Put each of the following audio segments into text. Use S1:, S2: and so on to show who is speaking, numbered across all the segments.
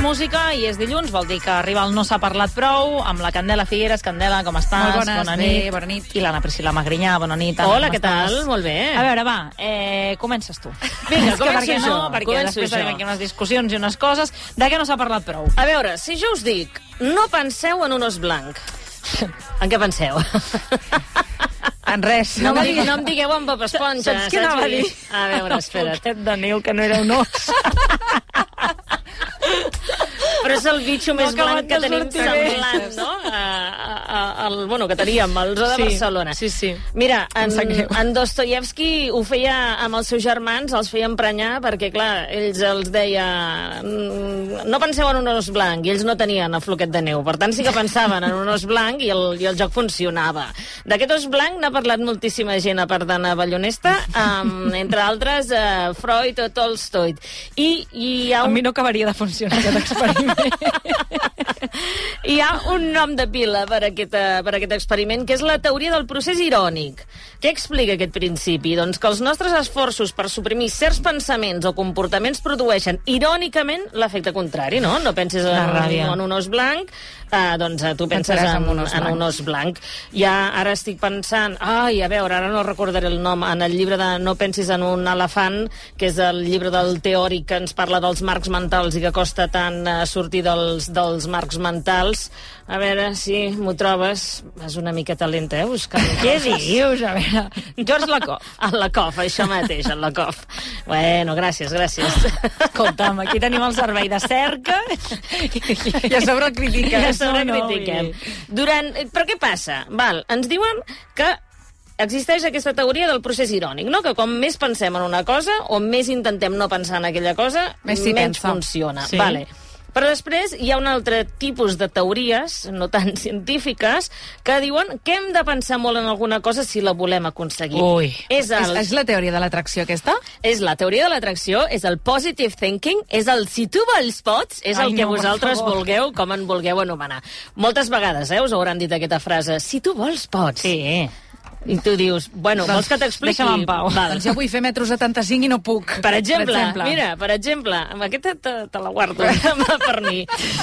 S1: música i és dilluns, vol dir que arriba el No s'ha parlat prou, amb la Candela Figueres. Candela, com estàs?
S2: Molt bones,
S1: bona
S2: bé,
S1: nit.
S2: bona nit.
S1: I l'Anna Priscila Magrinyà, bona nit. Anna,
S3: Hola,
S1: com
S3: què tal?
S1: estàs?
S3: Molt bé.
S1: A veure, va, eh, comences tu.
S3: Vinga,
S1: És que
S3: començo
S1: perquè
S3: jo,
S1: No, perquè
S3: començo
S1: després
S3: jo.
S1: tenim aquí unes discussions i unes coses. De què no s'ha parlat prou?
S3: A veure, si jo us dic, no penseu en un os blanc, en què penseu?
S2: En res.
S3: No, em, no em digueu en Papa Esponja.
S1: Saps què anava a
S3: vull dir?
S1: dir?
S3: A veure, espera't.
S1: Aquest Daniel, que no era un os.
S3: Però és el bitxo més
S1: acabat
S3: blanc que
S1: de
S3: tenim
S1: sortir bé.
S3: semblant, no? A, a, a, el, bueno, que teníem, el zoo de
S1: Sí,
S3: Barcelona.
S1: sí, sí.
S3: Mira, en,
S1: sap greu.
S3: en Dostoyevsky ho feia amb els seus germans, els feia emprenyar, perquè, clar, ells els deia... "Mm, No penseu en un os blanc, i ells no tenien el floquet de neu. Per tant, sí que pensaven en un os blanc i el, i el joc funcionava. D'aquest os blanc n'ha parlat moltíssima gent, a part d'Anna Ballonesta, um, entre altres, uh, Freud o Tolstoi. I, i hi ha
S1: A
S3: un...
S1: mi no acabaria de funcionar aquest experiment.
S3: Hi ha un nom de pila per aquest, eh, per aquest experiment, que és la teoria del procés irònic. Què explica aquest principi? Doncs que els nostres esforços per suprimir certs pensaments o comportaments produeixen irònicament l'efecte contrari, no? No penses
S1: La
S3: en,
S1: ràbia.
S3: en un os blanc, eh, doncs eh, tu penses
S2: Pensaràs
S3: en,
S2: en un os
S3: en
S2: blanc.
S3: un os blanc. Ja ara estic pensant, ai, a veure, ara no recordaré el nom, en el llibre de No pensis en un elefant, que és el llibre del teòric que ens parla dels marcs mentals i que costa tant eh, sortir dels, dels marcs mentals. A veure si m'ho trobes. És una mica talent, eh, buscar.
S1: Què dius? A veure, George Lacoff.
S3: En la cof, això mateix, en la cof. Bueno, gràcies, gràcies.
S1: Escolta'm, aquí tenim el servei de cerca.
S2: I a sobre el critiques.
S3: que
S1: Ja
S3: a sobre
S1: no, no,
S3: critiquem.
S1: vull
S3: Durant... eh, Però què passa? Val, ens diuen que existeix aquesta teoria del procés irònic, no? que com més pensem en una cosa o més intentem no pensar en aquella cosa,
S2: Més s'hi
S3: menys
S2: pensa.
S3: funciona.
S1: Sí.
S3: Vale. Però després hi ha un altre tipus de teories, no tan científiques, que diuen que hem de pensar molt en alguna cosa si la volem aconseguir.
S1: Ui.
S3: És
S2: És,
S3: el
S2: és la teoria de l'atracció, aquesta?
S3: és la teoria de l'atracció, és el positive thinking, és el si tu vols pots, és el
S1: Ai,
S3: que
S1: no, per
S3: vosaltres
S1: favor.
S3: vulgueu, com en vulgueu anomenar. Moltes vegades eh, us hauran dit aquesta frase, si tu vols pots.
S1: Sí.
S3: I tu dius, bueno,
S1: Doncs
S3: vols que t'expliqui?
S1: deixa'm en pau.
S3: Val.
S2: Doncs jo vull fer metro 75 i no puc.
S3: Per exemple, per exemple, mira, per exemple, amb aquesta te, te la guardo per mi.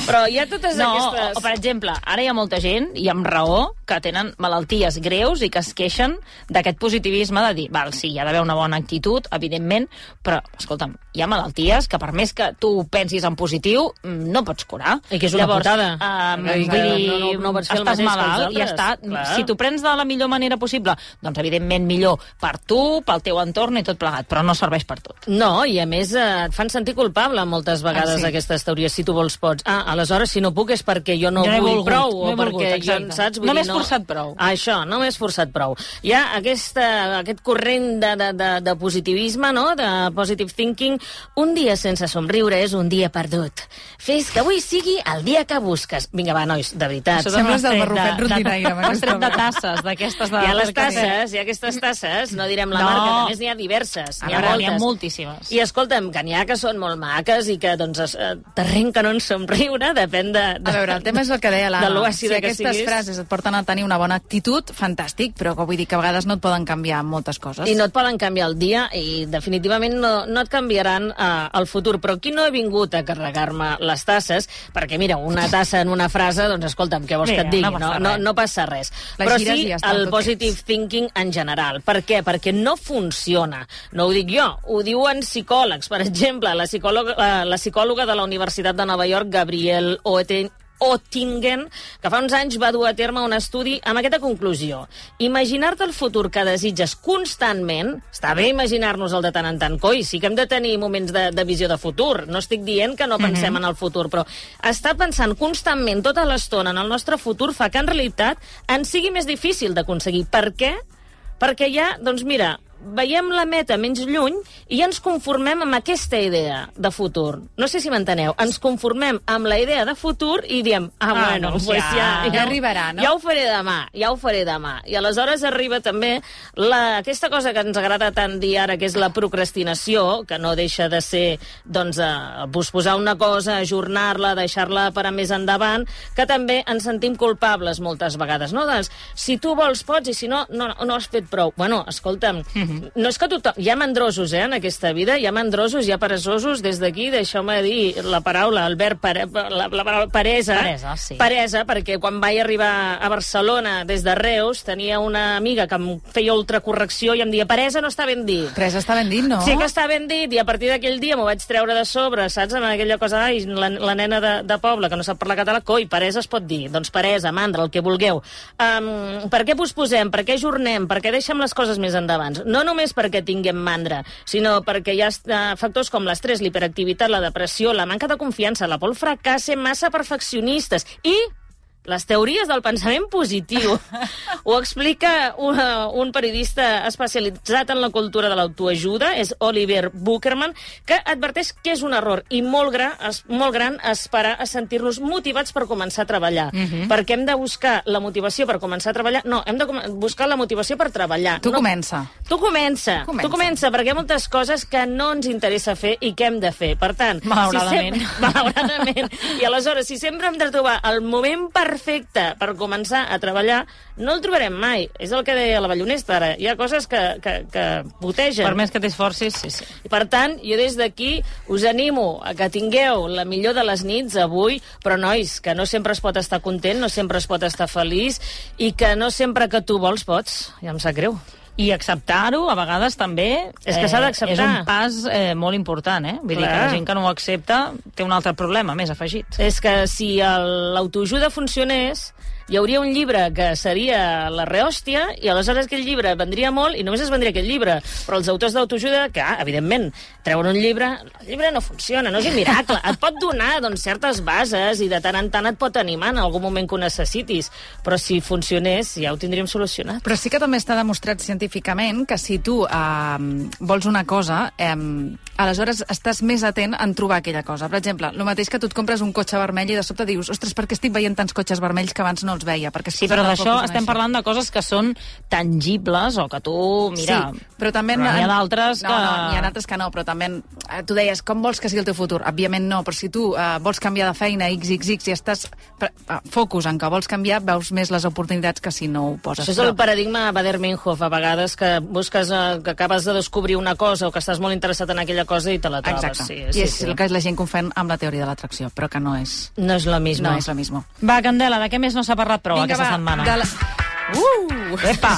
S3: Però hi ha totes
S1: No, o,
S3: aquestes...
S1: o, per exemple, ara hi ha molta gent, i amb raó, que tenen malalties greus i que es queixen d'aquest positivisme de dir, val, sí, hi ha d'haver una bona actitud, evidentment, però, escolta'm, hi ha malalties que per més que tu ho pensis en positiu, mm, no pots curar.
S3: I que és una
S1: Llavors,
S3: putada.
S1: Um,
S3: Ai,
S1: vull
S3: clar,
S1: dir,
S3: no- no- no pots fer el
S1: estàs
S3: mateix que els
S1: malalt i ja
S3: altres,
S1: està.
S3: clar.
S1: Si tu prens de la millor manera possible, doncs, evidentment, millor per tu, pel teu entorn i tot plegat, però no serveix per tot.
S3: No, i a més eh, et fan sentir culpable moltes vegades
S2: Ah, sí.
S3: aquestes teories, si tu vols pots. Ah, aleshores, si no puc és perquè jo no,
S1: Jo no he
S3: vull
S1: volgut,
S3: prou,
S1: no he
S3: o
S1: volgut,
S3: perquè
S1: exacte.
S3: jo, saps? Vull
S1: No
S3: dir,
S1: m'he esforçat prou.
S3: Ah, això, no m'he esforçat prou. Hi ha aquesta, aquest corrent de, de, de, de positivisme, no?, de positive thinking. Un dia sense somriure és un dia perdut. Fes que avui sigui el dia que busques. Vinga, va, nois, de veritat.
S2: Això Sembles del barrufet rutinaire,
S1: M'has tret de
S2: manifestament.
S1: tasses, d'aquestes de...
S3: Hi ha les
S1: del cafè.
S3: tasses, hi ha aquestes tasses, no direm la
S1: No.
S3: marca, que a més n'hi ha diverses,
S1: A
S3: n'hi ha
S1: veure,
S3: moltes.
S1: n'hi ha moltíssimes.
S3: I escolta'm, que n'hi ha que són molt maques i que doncs, es- eh, t'arrenquen un somriure, depèn de... de...
S2: A veure, el tema és el que deia
S3: De lo
S2: l'Anna. Si
S3: àcida que
S2: aquestes
S3: siguis.
S2: frases et porten a tenir una bona actitud, fantàstic, però que vull dir que a vegades no et poden canviar moltes coses.
S3: I no et poden canviar el dia i definitivament no, no et canviaran eh, el futur. Però aquí no he vingut a carregar-me les tasses, perquè mira, una tassa en una frase, doncs escolta'm, què vols
S1: Mira,
S3: que et digui? No,
S1: no passa
S3: no,
S1: res.
S3: no, passa res.
S2: La
S3: Però
S2: gires
S3: sí
S2: i ja està,
S3: el
S2: en tot
S3: positive thinking en general. Per què? Perquè no funciona. No ho dic jo, ho diuen psicòlegs. Per exemple, la psicòloga, eh, la psicòloga de la Universitat de Nova York, Gabriel Oeten, Oettingen, que fa uns anys va dur a terme un estudi amb aquesta conclusió. Imaginar-te el futur que desitges constantment, està bé imaginar-nos el de tant en tant, coi, sí que hem de tenir moments de, de visió de futur. No estic dient que no pensem en el futur, però estar pensant constantment tota l'estona en el nostre futur fa que en realitat ens sigui més difícil d'aconseguir. Per què? Perquè ja, doncs mira, veiem la meta menys lluny i ja ens conformem amb aquesta idea de futur. No sé si m'enteneu. Ens conformem amb la idea de futur i diem, ah,
S1: Ah,
S3: bueno,
S1: doncs
S3: doncs pues
S1: ja.
S3: ja,
S2: Ja arribarà, no?
S3: Ja ho faré demà, ja ho faré demà. I aleshores arriba també la, aquesta cosa que ens agrada tant dir ara, que és la procrastinació, que no deixa de ser, doncs, eh, posposar una cosa, ajornar-la, deixar-la per a més endavant, que també ens sentim culpables moltes vegades, no? Doncs, si tu vols, pots, i si no, no, no has fet prou. Bueno, escolta'm, No és que tothom... Hi ha mandrosos, eh, en aquesta vida. Hi ha mandrosos, hi ha peresosos. Des d'aquí, deixeu-me dir la paraula, Albert, pare, la, la paraula paresa.
S1: Paresa, sí.
S3: Paresa, perquè quan vaig arribar a Barcelona des de Reus, tenia una amiga que em feia ultracorrecció i em deia paresa no està ben dit.
S2: Tres està ben dit, no?
S3: Sí que està ben dit, i a partir d'aquell dia m'ho vaig treure de sobre, saps? Amb aquella cosa, ai, la, la nena de, de poble que no sap parlar català, coi, paresa es pot dir. Doncs paresa, mandra, el que vulgueu. Um, per què posposem? Per què jornem? Per què deixem les coses més endavant? No només perquè tinguem mandra, sinó perquè hi ha eh, factors com l'estrès, l'hiperactivitat, la depressió, la manca de confiança, la por al fracàs, ser massa perfeccionistes i les teories del pensament positiu. Ho explica un, un periodista especialitzat en la cultura de l'autoajuda, és Oliver Buckerman, que adverteix que és un error i molt gran, es, molt gran esperar a sentir-nos motivats per començar a treballar. Uh -huh. Perquè hem de buscar la motivació per començar a treballar... No, hem de com- buscar la motivació per treballar.
S2: Tu
S3: no,
S2: comença.
S3: Tu comença,
S2: Comença.
S3: tu comença, perquè hi ha moltes coses que no ens interessa fer i que hem de fer. Per tant,
S2: Malauradament.
S3: Si sempre, malauradament. I aleshores, si sempre hem de trobar el moment perfecte per començar a treballar, no el trobarem mai. És el que deia la Ballonesta ara. Hi ha coses que, que, que putegen.
S1: Per més que t'esforcis, sí, sí.
S3: I, Per tant, jo des d'aquí us animo a que tingueu la millor de les nits avui, però nois, que no sempre es pot estar content, no sempre es pot estar feliç i que no sempre que tu vols pots. Ja em sap greu.
S1: I acceptar-ho, a vegades, també...
S3: És que s'ha d'acceptar.
S1: És un pas eh, molt important, eh? Vull dir que
S3: Clar.
S1: la gent que no ho accepta té un altre problema més afegit.
S3: És que si el- l'autoajuda funcionés, hi hauria un llibre que seria la rehòstia i aleshores aquest llibre vendria molt i només es vendria aquest llibre. Però els autors d'autoajuda, que, ah, evidentment, treuen un llibre... El llibre no funciona, no és un miracle. Et pot donar doncs, certes bases i de tant en tant et pot animar en algun moment que ho necessitis. Però si funcionés, ja ho tindríem solucionat.
S2: Però sí que també està demostrat científicament que si tu eh, vols una cosa, eh, aleshores estàs més atent en trobar aquella cosa. Per exemple, el mateix que tu et compres un cotxe vermell i de sobte dius ostres, per què estic veient tants cotxes vermells que abans no els veia? Perquè
S1: Sí, però d'això estem parlant de coses que són tangibles o que tu, mira...
S2: sí, però també...
S1: però n'hi ha d'altres
S2: no,
S1: que...
S2: No, n'hi ha d'altres que no, però també... eh, Tu deies, com vols que sigui el teu futur? Òbviament no, però si tu eh, vols canviar de feina XXX i estàs pre- eh, focus en que vols canviar, veus més les oportunitats que si Doncs no ho poses.
S3: Això és el
S2: Però-
S3: paradigma Bader Meinhof, a vegades que busques, eh, que acabes de descobrir una cosa o que estàs molt interessat en aquella cosa i te la trobes.
S2: Exacte.
S3: Sí,
S2: I
S3: sí,
S2: és
S3: sí.
S2: el que la gent confon amb la teoria de l'atracció, però que no és,
S3: No és la
S2: no.
S3: misma.
S2: és la misma.
S1: Va, Candela, de què més no s'ha parlat prou aquesta
S2: va,
S1: setmana?
S2: De la... Uh!
S1: Epa!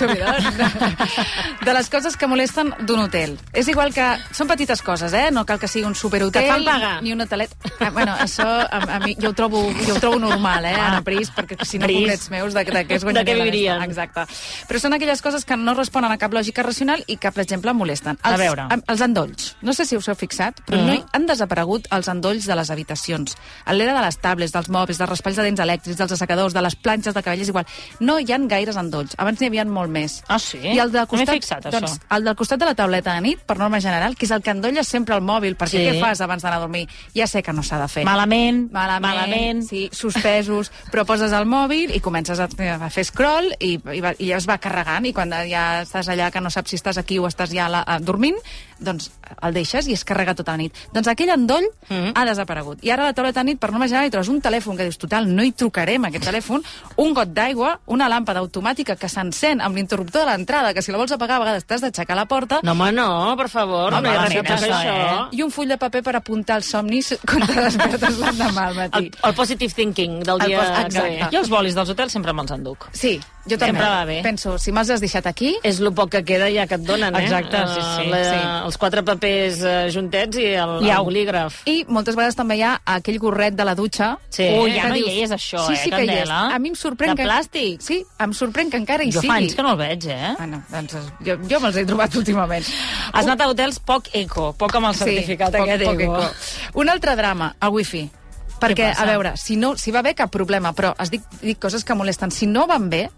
S2: De les coses que molesten d'un hotel. És igual que... Són petites coses, eh? No cal que sigui un superhotel...
S3: Que et fan pagar.
S2: Ni un hotelet... Ah, bueno, això a, a mi jo ho, trobo, jo ho trobo normal, eh, Ana Pris, perquè si no
S3: Ah. Pris.
S2: pobrets meus, de, de què es guanyaria
S3: De què
S2: la
S3: vivirien?
S2: resta. Exacte. Però són aquelles coses que no responen a cap lògica racional i que, per exemple, molesten.
S1: A veure.
S2: em- Els endolls. No sé si us heu fixat, però no hi
S1: Mm.
S2: han desaparegut els endolls de les habitacions. En l'era de les tables, dels mòbils, dels raspalls de dents elèctrics, dels assecadors, de les planxes de cabell, és igual. No hi han gaires endolls. Abans n'hi havia molt més.
S1: Ah, sí?
S2: I el de
S1: No m'he
S2: costat,
S1: fixat, això.
S2: doncs, el del costat de la tauleta de nit, per norma general, que és el que endolla sempre el mòbil, perquè
S1: Sí.
S2: què fas abans d'anar a dormir? Ja sé que no s'ha de fer.
S1: Malament,
S2: Malament,
S1: malament.
S2: sí, suspesos, però poses el mòbil i comences a, a fer scroll i, i, va, i ja es va carregant i quan ja estàs allà que no saps si estàs aquí o estàs ja a la, a, dormint, doncs el deixes i es carrega tota la nit. Doncs aquell endoll mm -hmm. ha desaparegut. I ara a la taula de nit, per norma general, hi trobes un telèfon que dius, total, no hi trucarem a aquest telèfon, un got d'aigua, una làmpada automàtica que s'encén amb l'interruptor de l'entrada, que si la vols apagar a vegades t'has d'aixecar la porta,
S3: No, home, no, per favor, no,
S1: Home,
S3: no hi ha
S1: va,
S3: res que
S1: mira,
S3: passa
S1: això, eh?
S3: això. eh?
S2: i un full de paper per apuntar els somnis quan te despertes l'endemà al matí.
S3: El, el positive thinking del
S2: El
S3: dia
S2: pos-
S3: que
S2: exacte.
S3: ve.
S1: Eh, Jo els bolis dels hotels sempre me'ls enduc.
S2: Sí, jo també.
S1: Sempre va bé.
S2: Penso, si me'ls has deixat aquí...
S3: És el poc que queda ja que et donen, eh?
S1: Exacte,
S3: Eh,
S1: sí, sí,
S3: la,
S1: sí.
S3: Els quatre papers eh, juntets i el,
S1: I
S3: el
S1: au.
S3: bolígraf.
S2: I moltes vegades també hi ha aquell gorret de la dutxa. Eh,
S3: Sí.
S1: Ui, ja
S2: que
S1: no hi és, això,
S2: sí,
S1: eh,
S2: sí que hi és.
S1: Candela?
S2: A mi em sorprèn
S1: De
S2: que...
S1: plàstic?
S2: Sí, em sorprèn que encara hi
S1: Jo
S2: sigui.
S1: fa anys que no el veig, eh?
S2: Ah, no, doncs eh, jo, jo me'ls he trobat últimament.
S1: Has anat a hotels poc eco, poc amb el certificat
S2: poc-
S1: aquest
S2: poc
S1: eco.
S2: eco. Un altre drama, el wifi. Perquè,
S1: passa?
S2: a veure, si, no, si va bé, cap problema, però es dic, dic coses que molesten. Si no van bé,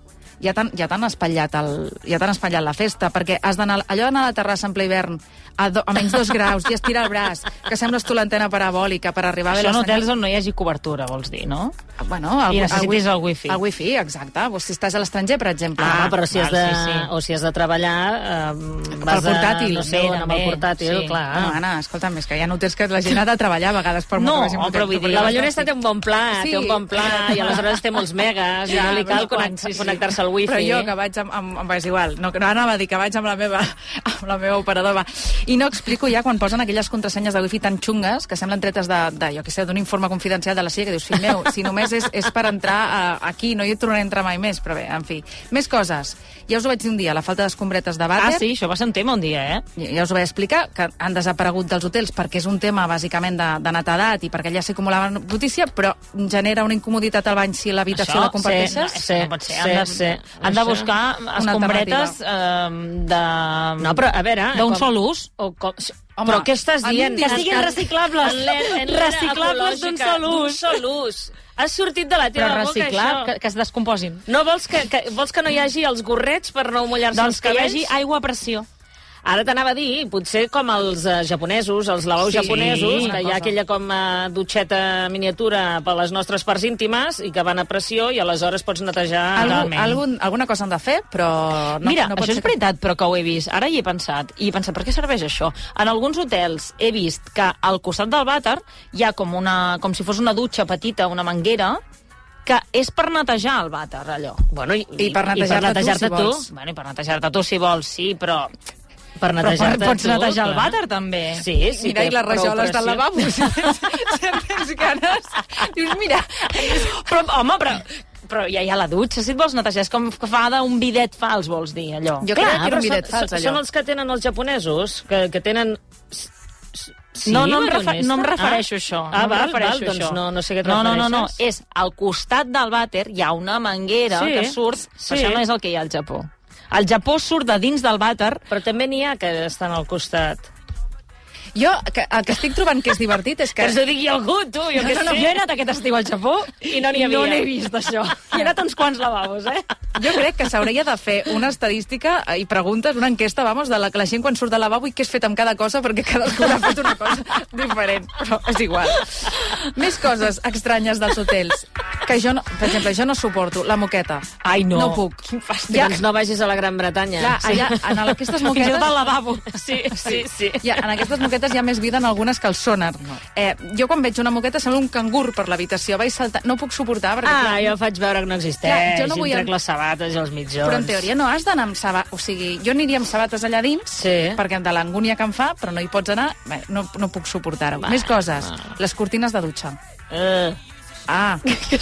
S2: ja t'han ja t'han espatllat, el, ja t'han espatllat la festa, perquè has d'anar, allò d'anar a la terrassa en ple hivern a, do, a menys dos graus i estirar el braç, que sembles tu l'antena parabòlica per arribar a veure
S1: Són
S2: la senyal-
S1: hotels on no hi hagi cobertura, vols dir, no?
S2: Bueno, el,
S1: I necessitis
S2: wi-
S1: el wifi.
S2: El wifi, exacte. O si estàs a l'estranger, per exemple.
S3: Ah, però si
S1: val,
S3: has de,
S1: sí, sí.
S3: o si has de treballar... Eh, vas a-
S2: portàtil,
S3: No sé,
S1: bé,
S3: on, amb el
S1: també,
S3: portàtil,
S1: sí.
S3: clar.
S2: Ah, no, Anna, escolta'm, és que hi ha hotels que la gent ha de treballar a vegades per
S1: No,
S2: molt que vagi amb
S1: però
S2: hotel.
S1: vull dir,
S3: La Ballonesta té un bon pla,
S2: Sí.
S3: sí. té un bon pla, i aleshores té molts megas, ja, i no li
S1: però
S3: cal
S1: quan,
S3: connect-
S1: sí, sí.
S3: connectar-se el wifi.
S2: Però jo que vaig amb... amb, amb és igual, no, no anava a dir que vaig amb la meva, amb la meva operadora. I no explico ja quan posen aquelles contrasenyes de wifi tan xungues que semblen tretes de, de jo que sé, d'un informe confidencial de la CIA que dius, fill meu, si només és, és per entrar a, aquí, no hi tornaré a entrar mai més, però bé, en fi. Més coses. Ja us ho vaig dir un dia, la falta d'escombretes de
S1: Ah,
S2: vàter.
S1: sí, això va ser un tema un dia, eh?
S2: Ja ja us ho vaig explicar, que han desaparegut dels hotels perquè és un tema bàsicament de, de netedat i perquè allà s'acumulava notícia, però genera una incomoditat al bany si l'habitació la
S1: no,
S2: comparteixes.
S1: això no pot ser. Han
S3: Sí,
S1: de,
S3: sí,
S1: han de
S3: això.
S1: buscar escombretes eh, de...
S3: No, però, a veure...
S1: D'un
S3: com-
S1: sol ús.
S3: O com...
S2: Home,
S3: però què estàs
S2: a mi em
S3: dient?
S2: dius que-
S3: En l'era- en l'era
S1: Reciclables d'un
S3: ecològica,
S1: sol ús.
S3: D'un sol ús. Ha sortit de la teva
S1: Però
S3: boca,
S1: reciclar,
S3: això.
S1: que, que es descomposin.
S3: No vols que, que, vols que no hi hagi els gorrets per no mullar-se
S1: Doncs
S3: els
S1: que hi
S3: cabells?
S1: hagi aigua a pressió.
S3: Ara t'anava a dir, potser com els eh, japonesos, els lavabos
S1: Sí,
S3: japonesos,
S1: una
S3: que hi
S1: cosa.
S3: ha aquella com eh, dutxeta miniatura per les nostres parts íntimes i que van a pressió i aleshores pots netejar...
S2: Algú,
S1: Totalment.
S2: algun, alguna cosa han de fer, però no,
S1: Mira,
S2: no pot
S1: això és
S2: ser que-
S1: veritat, però que ho he vist. Ara hi he pensat. I he pensat, per què serveix això? En alguns hotels he vist que al costat del vàter hi ha com, una, com si fos una dutxa petita, una manguera, que és per netejar el vàter, allò.
S3: Bueno, i,
S2: I per netejar-te tu, si vols.
S1: Bueno, I per netejar-te tu, si vols, sí, però...
S3: per
S1: Però
S3: netejar-te
S1: pots
S3: tu,
S1: netejar el
S3: clar.
S1: vàter, també.
S3: Sí, sí.
S2: Mira,
S3: té
S2: i les
S3: prou
S2: rajoles del
S3: pressió.
S2: lavabo, si tens, si en tens ganes. Dius, mira,
S1: Però, home, però, però ja hi ha la dutxa, si et vols netejar. És com que fa d'un bidet fals, vols dir, allò.
S2: Jo creia que era
S3: però
S2: un bidet
S3: són-
S2: fals,
S3: són-
S2: allò.
S3: Són els que tenen els japonesos, que, que tenen... s- s- Sí,
S1: no, no, em
S3: Maria
S1: refe-
S3: Honesta?
S1: no em refereixo a això.
S3: Ah,
S1: no em
S3: val,
S1: refereixo
S3: val,
S1: a
S3: doncs
S1: això.
S3: no, no sé a què et
S1: no, no, no, no,
S3: refereixes.
S1: és al costat del vàter hi ha una manguera
S3: Sí,
S1: que surt,
S3: sí.
S1: però això no és el que hi ha al Japó. Al Japó surt de dins del vàter
S3: Eh, Però també n'hi ha que estan al costat.
S2: jo que, el que estic trobant que és divertit és que...
S1: ho digui algú, tu, jo
S2: què sé.
S1: Jo he anat aquest estiu al Japó
S3: I no n'hi havia.
S1: No n'he vist, això. Hi ha anat uns quants lavabos, eh?
S2: Jo crec que s'hauria de fer una estadística eh, i preguntes, una enquesta, vamos, de la que la gent quan surt del lavabo i què has fet amb cada cosa, perquè cadascú ha fet una cosa diferent, però és igual. Més coses estranyes dels hotels, que jo, no, per exemple, jo no suporto la moqueta.
S1: Ai, no.
S2: No puc.
S1: Quin fàstic.
S2: Ja-
S3: Doncs no vagis a la Gran Bretanya.
S2: Clar, allà, en aquestes
S1: Fins i
S2: moquetes...
S1: tot al lavabo.
S3: Sí, sí, sí.
S2: Hi ha, en aquestes moquetes hi ha més vida en algunes que el sonar. Eh, jo quan veig una moqueta sembla un cangur per l'habitació. Vaig saltar... No puc suportar, perquè... clar,
S3: Ah, jo faig veure que no existeix.
S2: Clar, jo no
S3: Em
S2: vull-
S3: trec les sabates i els mitjons.
S1: doncs.
S2: Però en teoria no has d'anar amb sabates... O sigui, jo aniria amb sabates allà dins,
S3: Sí.
S2: perquè de l'angúnia que em fa, però no hi pots anar, bé, no, no puc suportar-ho. Més coses. Les cortines de dutxa.
S3: Eh,
S2: Ah,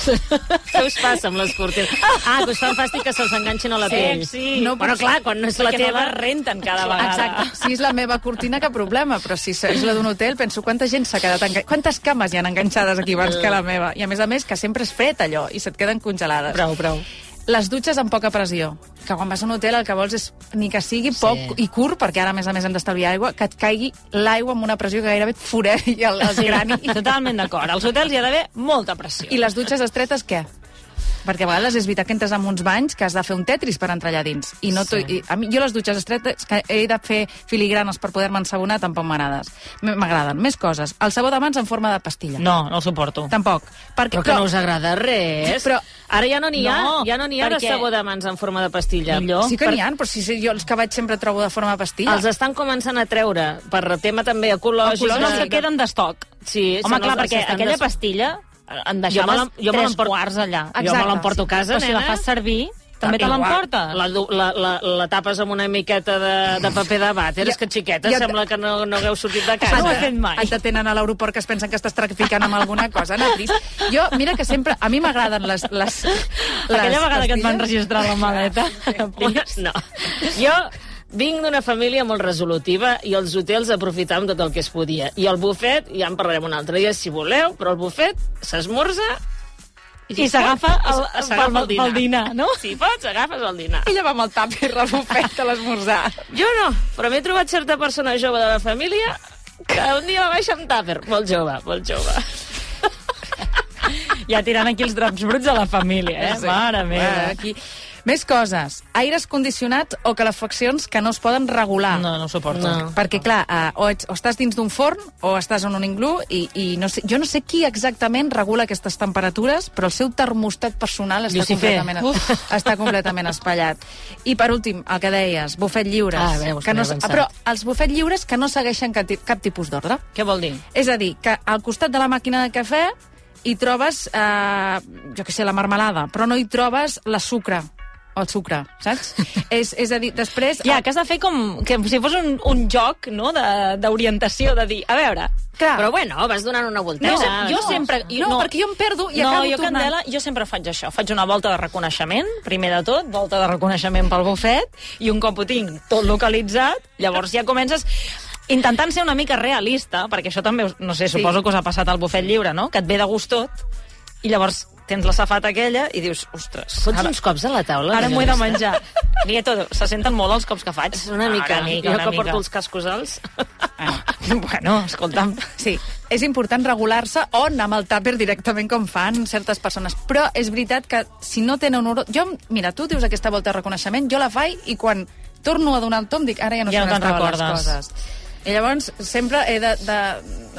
S3: què us passa amb les cortines? Ah, que us fan fàstic que se'ls enganxin a la pell.
S1: sí.
S2: No
S3: No, bueno,
S2: puc-
S3: clar, quan no és la
S1: Perquè no
S3: teva...
S1: les renten cada vegada.
S2: exacte. Si és la meva cortina, que problema. Però si és la d'un hotel, penso quanta gent s'ha quedat... Enga... Quantes cames hi han enganxades aquí abans que la meva? I a més a més, que sempre és fred allò, i se't queden congelades.
S3: Prou, prou.
S2: les dutxes amb poca pressió, que quan vas a un hotel el que vols és ni que sigui poc i curt, perquè ara a més a més hem d'estalviar aigua, que et caigui l'aigua amb una pressió que gairebé et foreri el, el grani.
S1: Totalment d'acord. Als hotels hi ha d'haver molta pressió.
S2: I les dutxes estretes, què? Perquè a vegades és veritat que entres en uns banys que has de fer un tetris per entrar allà dins. I no sí. i a mi, jo les dutxes estretes que he de fer filigranes per poder-me ensabonar tampoc m'agraden. M- M'agraden. Més coses. El sabó de mans en forma de pastilla.
S1: No, no ho suporto.
S2: Tampoc. Perquè,
S3: Però que no us agrada res.
S2: Però-
S3: Ara ja no n'hi ha,
S1: No,
S3: ja no n'hi ha
S1: perquè-
S3: de sabó de mans en forma de pastilla.
S1: Millor.
S2: Sí que n'hi ha, però si, si jo els que vaig sempre trobo de forma de pastilla.
S3: Els estan començant a treure per tema també ecològic.
S1: Són els que queden d'estoc.
S3: Sí,
S1: Home,
S3: són els-
S1: clar,
S3: els que
S1: perquè
S3: estan
S1: aquella
S3: des-
S1: pastilla eh, en
S3: me
S1: deixaves
S3: la- jo me
S1: tres
S3: l'emporto-
S1: quarts allà.
S2: Exacte.
S3: Jo me l'emporto a casa,
S1: Però si la
S3: nena.
S1: fas servir, també te
S3: Igual.
S1: l'emportes.
S3: La, du- la, la, la tapes amb una miqueta de, de paper de vàter.
S2: Ja-
S3: És que, xiqueta,
S2: ja-
S3: sembla que no, no hagueu sortit de
S1: No ho he
S3: casa.
S1: fet mai.
S2: Et detenen a l'aeroport que es pensen que estàs traficant amb alguna cosa, Natris. Jo, mira que sempre... A mi m'agraden les, les, les...
S1: Aquella vegada que et van
S2: pastilles.
S1: registrar la maleta.
S3: Una, no. Jo vinc d'una família molt resolutiva i els hotels aprofitàvem tot el que es podia. I el bufet, ja en parlarem un altre dia, si voleu, però el bufet s'esmorza
S1: I s'agafa el-
S3: es-
S1: pel-
S3: s'agafa
S1: pel dinar, no?
S3: Si pots, agafes el dinar.
S2: Ella va amb el tàpir la bufeta a l'esmorzar.
S3: Jo no, però m'he trobat certa persona jove de la família que un dia va baixar amb tàper. Molt jove, molt jove.
S1: Ja tirant aquí els draps bruts a la família, eh?
S2: Sí.
S1: Mare
S2: Bueno,
S1: meva.
S2: Aquí. Més coses. Aires condicionats o calefaccions que no es poden regular.
S1: No, no ho suporto.
S3: No.
S2: Perquè, clar, eh, o, ets, o estàs dins d'un forn o estàs en un iglú i, i no sé, jo no sé qui exactament regula aquestes temperatures, però el seu termostat personal està,
S1: Lucifer.
S2: completament,
S1: Uf.
S2: està completament espallat. I, per últim, el que deies, bufet lliures.
S3: Ah, veus,
S2: que
S3: m'he
S2: no, s-
S3: avançat.
S2: però els bufet lliures que no segueixen cap, ti- cap tipus d'ordre.
S1: Què vol dir?
S2: És a dir, que al costat de la màquina de cafè hi trobes, eh, jo que sé, la marmelada, però no hi trobes la sucre. o el sucre, saps? és, és a dir, després...
S1: Ja, que has de fer com que si fos un, un joc no, de- d'orientació, de, de dir, a veure...
S2: Clar,
S3: Però bueno, vas donant una volteta.
S1: Ah. No, jo
S3: no?
S1: sempre...
S2: no, perquè jo em perdo i
S1: no,
S2: acabo
S1: jo,
S2: tornant.
S1: Candela, jo sempre faig això. Faig una volta de reconeixement, primer de tot, volta de reconeixement pel bufet, i un cop ho tinc tot localitzat, llavors ja comences intentant ser una mica realista, perquè això també, us- no sé,
S2: Sí.
S1: suposo que us ha passat al bufet lliure, no? Que et ve de gust tot, i llavors tens la safata aquella i dius, ostres,
S3: Fots
S1: ara,
S3: uns cops a la taula?
S1: ara m'ho he de
S3: Mireia?
S1: menjar. Nieto, se senten molt els cops que faig.
S3: És Una mica.
S1: Ara,
S3: jo
S1: una
S3: que
S1: mica. Ah,
S3: porto els cascos alts.
S1: Bueno, escolta'm.
S2: Sí, és important regular-se o anar amb el tàper directament com fan certes persones. Però és veritat que si no tenen un... Jo, mira, tu dius aquesta volta de reconeixement, jo la faig i quan torno a donar el tom dic ara ja no
S1: Ja
S2: sé on
S1: no te'n
S2: estaven les
S1: recordes.
S2: coses. I llavors sempre he de, de,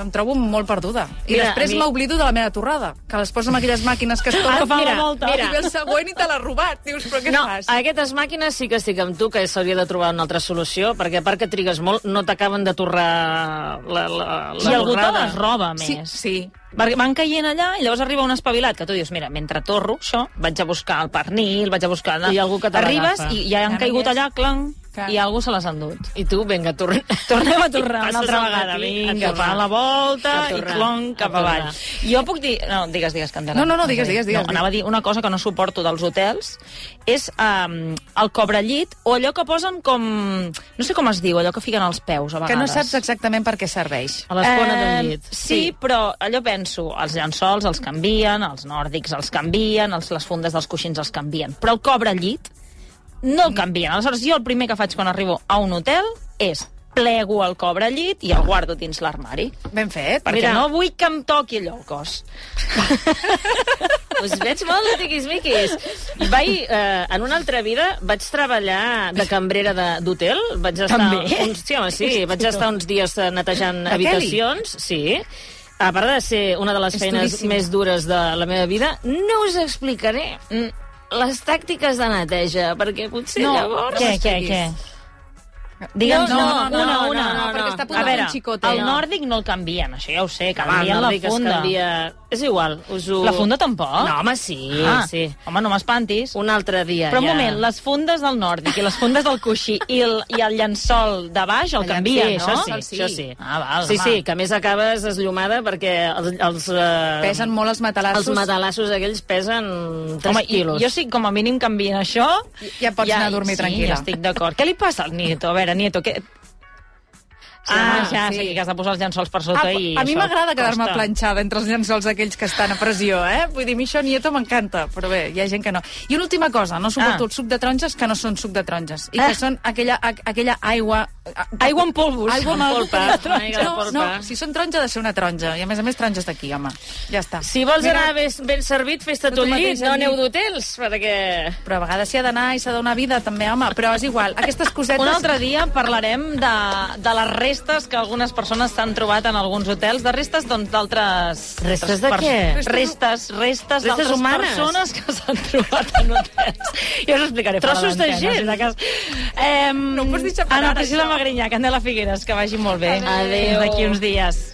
S2: em trobo molt perduda. I
S3: Mira,
S2: després
S3: a mi-
S2: m'oblido de la meva torrada, que les poso amb aquelles màquines que es tornen.
S1: fan
S2: mira,
S1: la volta.
S2: mira. I ve el següent i te l'ha robat. Dius, però què
S3: No,
S2: fas?
S3: a aquestes màquines sí que estic amb tu, que s'hauria de trobar una altra solució, perquè a part que trigues molt, no t'acaben de torrar la, la, la
S1: I algú te
S3: torrada.
S1: les roba, a
S2: Sí,
S1: més.
S2: sí.
S1: Perquè Van caient allà i llavors arriba un espavilat que tu dius, mira, mentre torro això, vaig a buscar el pernil, vaig a buscar...
S3: I hi ha algú que te
S1: Arribes
S3: l'agafa.
S1: i ja
S2: Ja
S1: han
S2: no
S1: caigut
S2: hi és.
S1: allà, clang,
S2: Clar.
S1: i algú se les ha endut.
S3: I tu, vinga, torna.
S1: Tornem a tornar
S3: I
S1: una
S3: passes
S1: altra
S3: el
S1: vegada.
S3: matí a
S1: Vinga,
S3: tornar.
S1: fa la volta
S3: A
S1: i
S3: tornar,
S1: clon cap
S3: a tornar.
S1: avall. Jo puc dir... No, digues, digues, Candela.
S2: No, no, no, digues, digues, digues.
S1: No, anava a dir una cosa que no suporto dels hotels, és um, el cobrellit o allò que posen com... No sé com es diu, allò que fiquen als peus, a vegades.
S2: Que no saps exactament per què serveix.
S3: A l'escona d'un llit.
S1: Sí, sí, però allò penso, els llençols els canvien, els nòrdics els canvien, els, les fundes dels coixins els canvien, però el cobre llit no el canvien. Aleshores, jo el primer que faig quan arribo a un hotel és plego el cobre llit i el guardo dins l'armari.
S2: Ben fet.
S1: Perquè
S3: Mira.
S1: no vull que em toqui allò el cos.
S3: Us Doncs veig molt de tiquis-miquis. Vaig, eh, en una altra vida vaig treballar de cambrera de- d'hotel. Vaig estar
S1: També?
S3: Uns, sí, home, sí. Vaig estar uns dies eh, netejant
S2: A
S3: habitacions. Sí. A part de ser una de les
S2: És
S3: feines
S2: duríssim.
S3: més dures de la meva vida, no us explicaré mm, les tàctiques de neteja, perquè potser
S2: No,
S3: llavors...
S1: Què, què, què? Digue'm,
S3: No, no, no,
S1: una,
S3: no,
S1: una.
S3: no, no, perquè està
S1: a
S2: apuntant
S1: veure,
S2: un xicote,
S1: el
S2: no.
S1: nòrdic no el canvien, això ja ho sé,
S3: Que va,
S1: canvien
S3: no
S1: la
S3: digues que
S1: funda.
S3: canvia... És igual, us ho...
S1: La funda tampoc?
S3: No, home, sí,
S1: Ah,
S3: sí.
S1: Home, no m'espantis.
S3: Un altre dia,
S1: Però un
S3: ja.
S1: moment, les fundes del nòrdic i les fundes del coixí i el, i el llençol de baix el canvien,
S3: sí,
S1: no?
S3: Això sí, això sí.
S1: Ah, val,
S3: sí,
S1: home.
S3: sí, que a més acabes esllomada perquè els... els eh,
S2: Pesen molt els matalassos.
S3: Els matalassos aquells pesen 3
S1: Home,
S3: quilos.
S1: jo, jo sí, com a mínim canvien això...
S2: Ja pots anar a dormir
S1: sí,
S2: tranquil·la.
S1: Ja estic d'acord. Què li passa al Nieto? A veure, Nieto, què... Ah,
S2: home,
S1: ja
S2: sí.
S1: sí. sé que has de posar els llençols per
S2: Ah,
S1: sota i...
S2: a mi
S1: això
S2: m'agrada quedar-me
S1: costa.
S2: planxada entre els llençols aquells que estan a pressió, eh? Vull dir, a mi això Nieto m'encanta, però bé, hi ha gent que no. I una última cosa, no suporto ah.
S1: Ah.
S2: el suc de taronges que no són suc de taronges, i
S1: Ah.
S2: que són aquella, a, aquella aigua... a-
S1: Aigua en polvos.
S2: Aigua amb
S3: Eh. Amb
S2: algú
S3: polpa,
S2: que no és
S3: una mica de
S2: taronja. No,
S3: polpa.
S2: no, si són taronja, ha de ser una taronja. I a més a més, taronges d'aquí, home. Ja està.
S3: Si vols
S2: Mira,
S3: anar ben, ben servit, fes-te
S2: Tu
S3: tu el
S2: mateix
S3: llit, no
S2: al llit.
S3: aneu d'hotels, perquè...
S2: Però a vegades s'hi ha d'anar i s'ha de donar vida, també, home. Però és igual, aquestes cosetes...
S1: Un altre dia parlarem de, de les restes que algunes persones s'han trobat en alguns hotels, de restes doncs, d'altres...
S3: Restes de
S1: pers-
S3: què?
S1: Restes, restes d'altres
S3: humanes?
S1: persones que s'han trobat en hotels. Jo us ho explicaré. fora
S3: Trossos de
S1: d'antena,
S3: gent.
S1: si de cas. Eh,
S2: No ho pots dir separat,
S1: Ana Priscila
S2: això.
S1: Magrinyà, Candela Figueres, que vagi molt bé.
S2: Adéu.
S1: Fins d'aquí uns dies.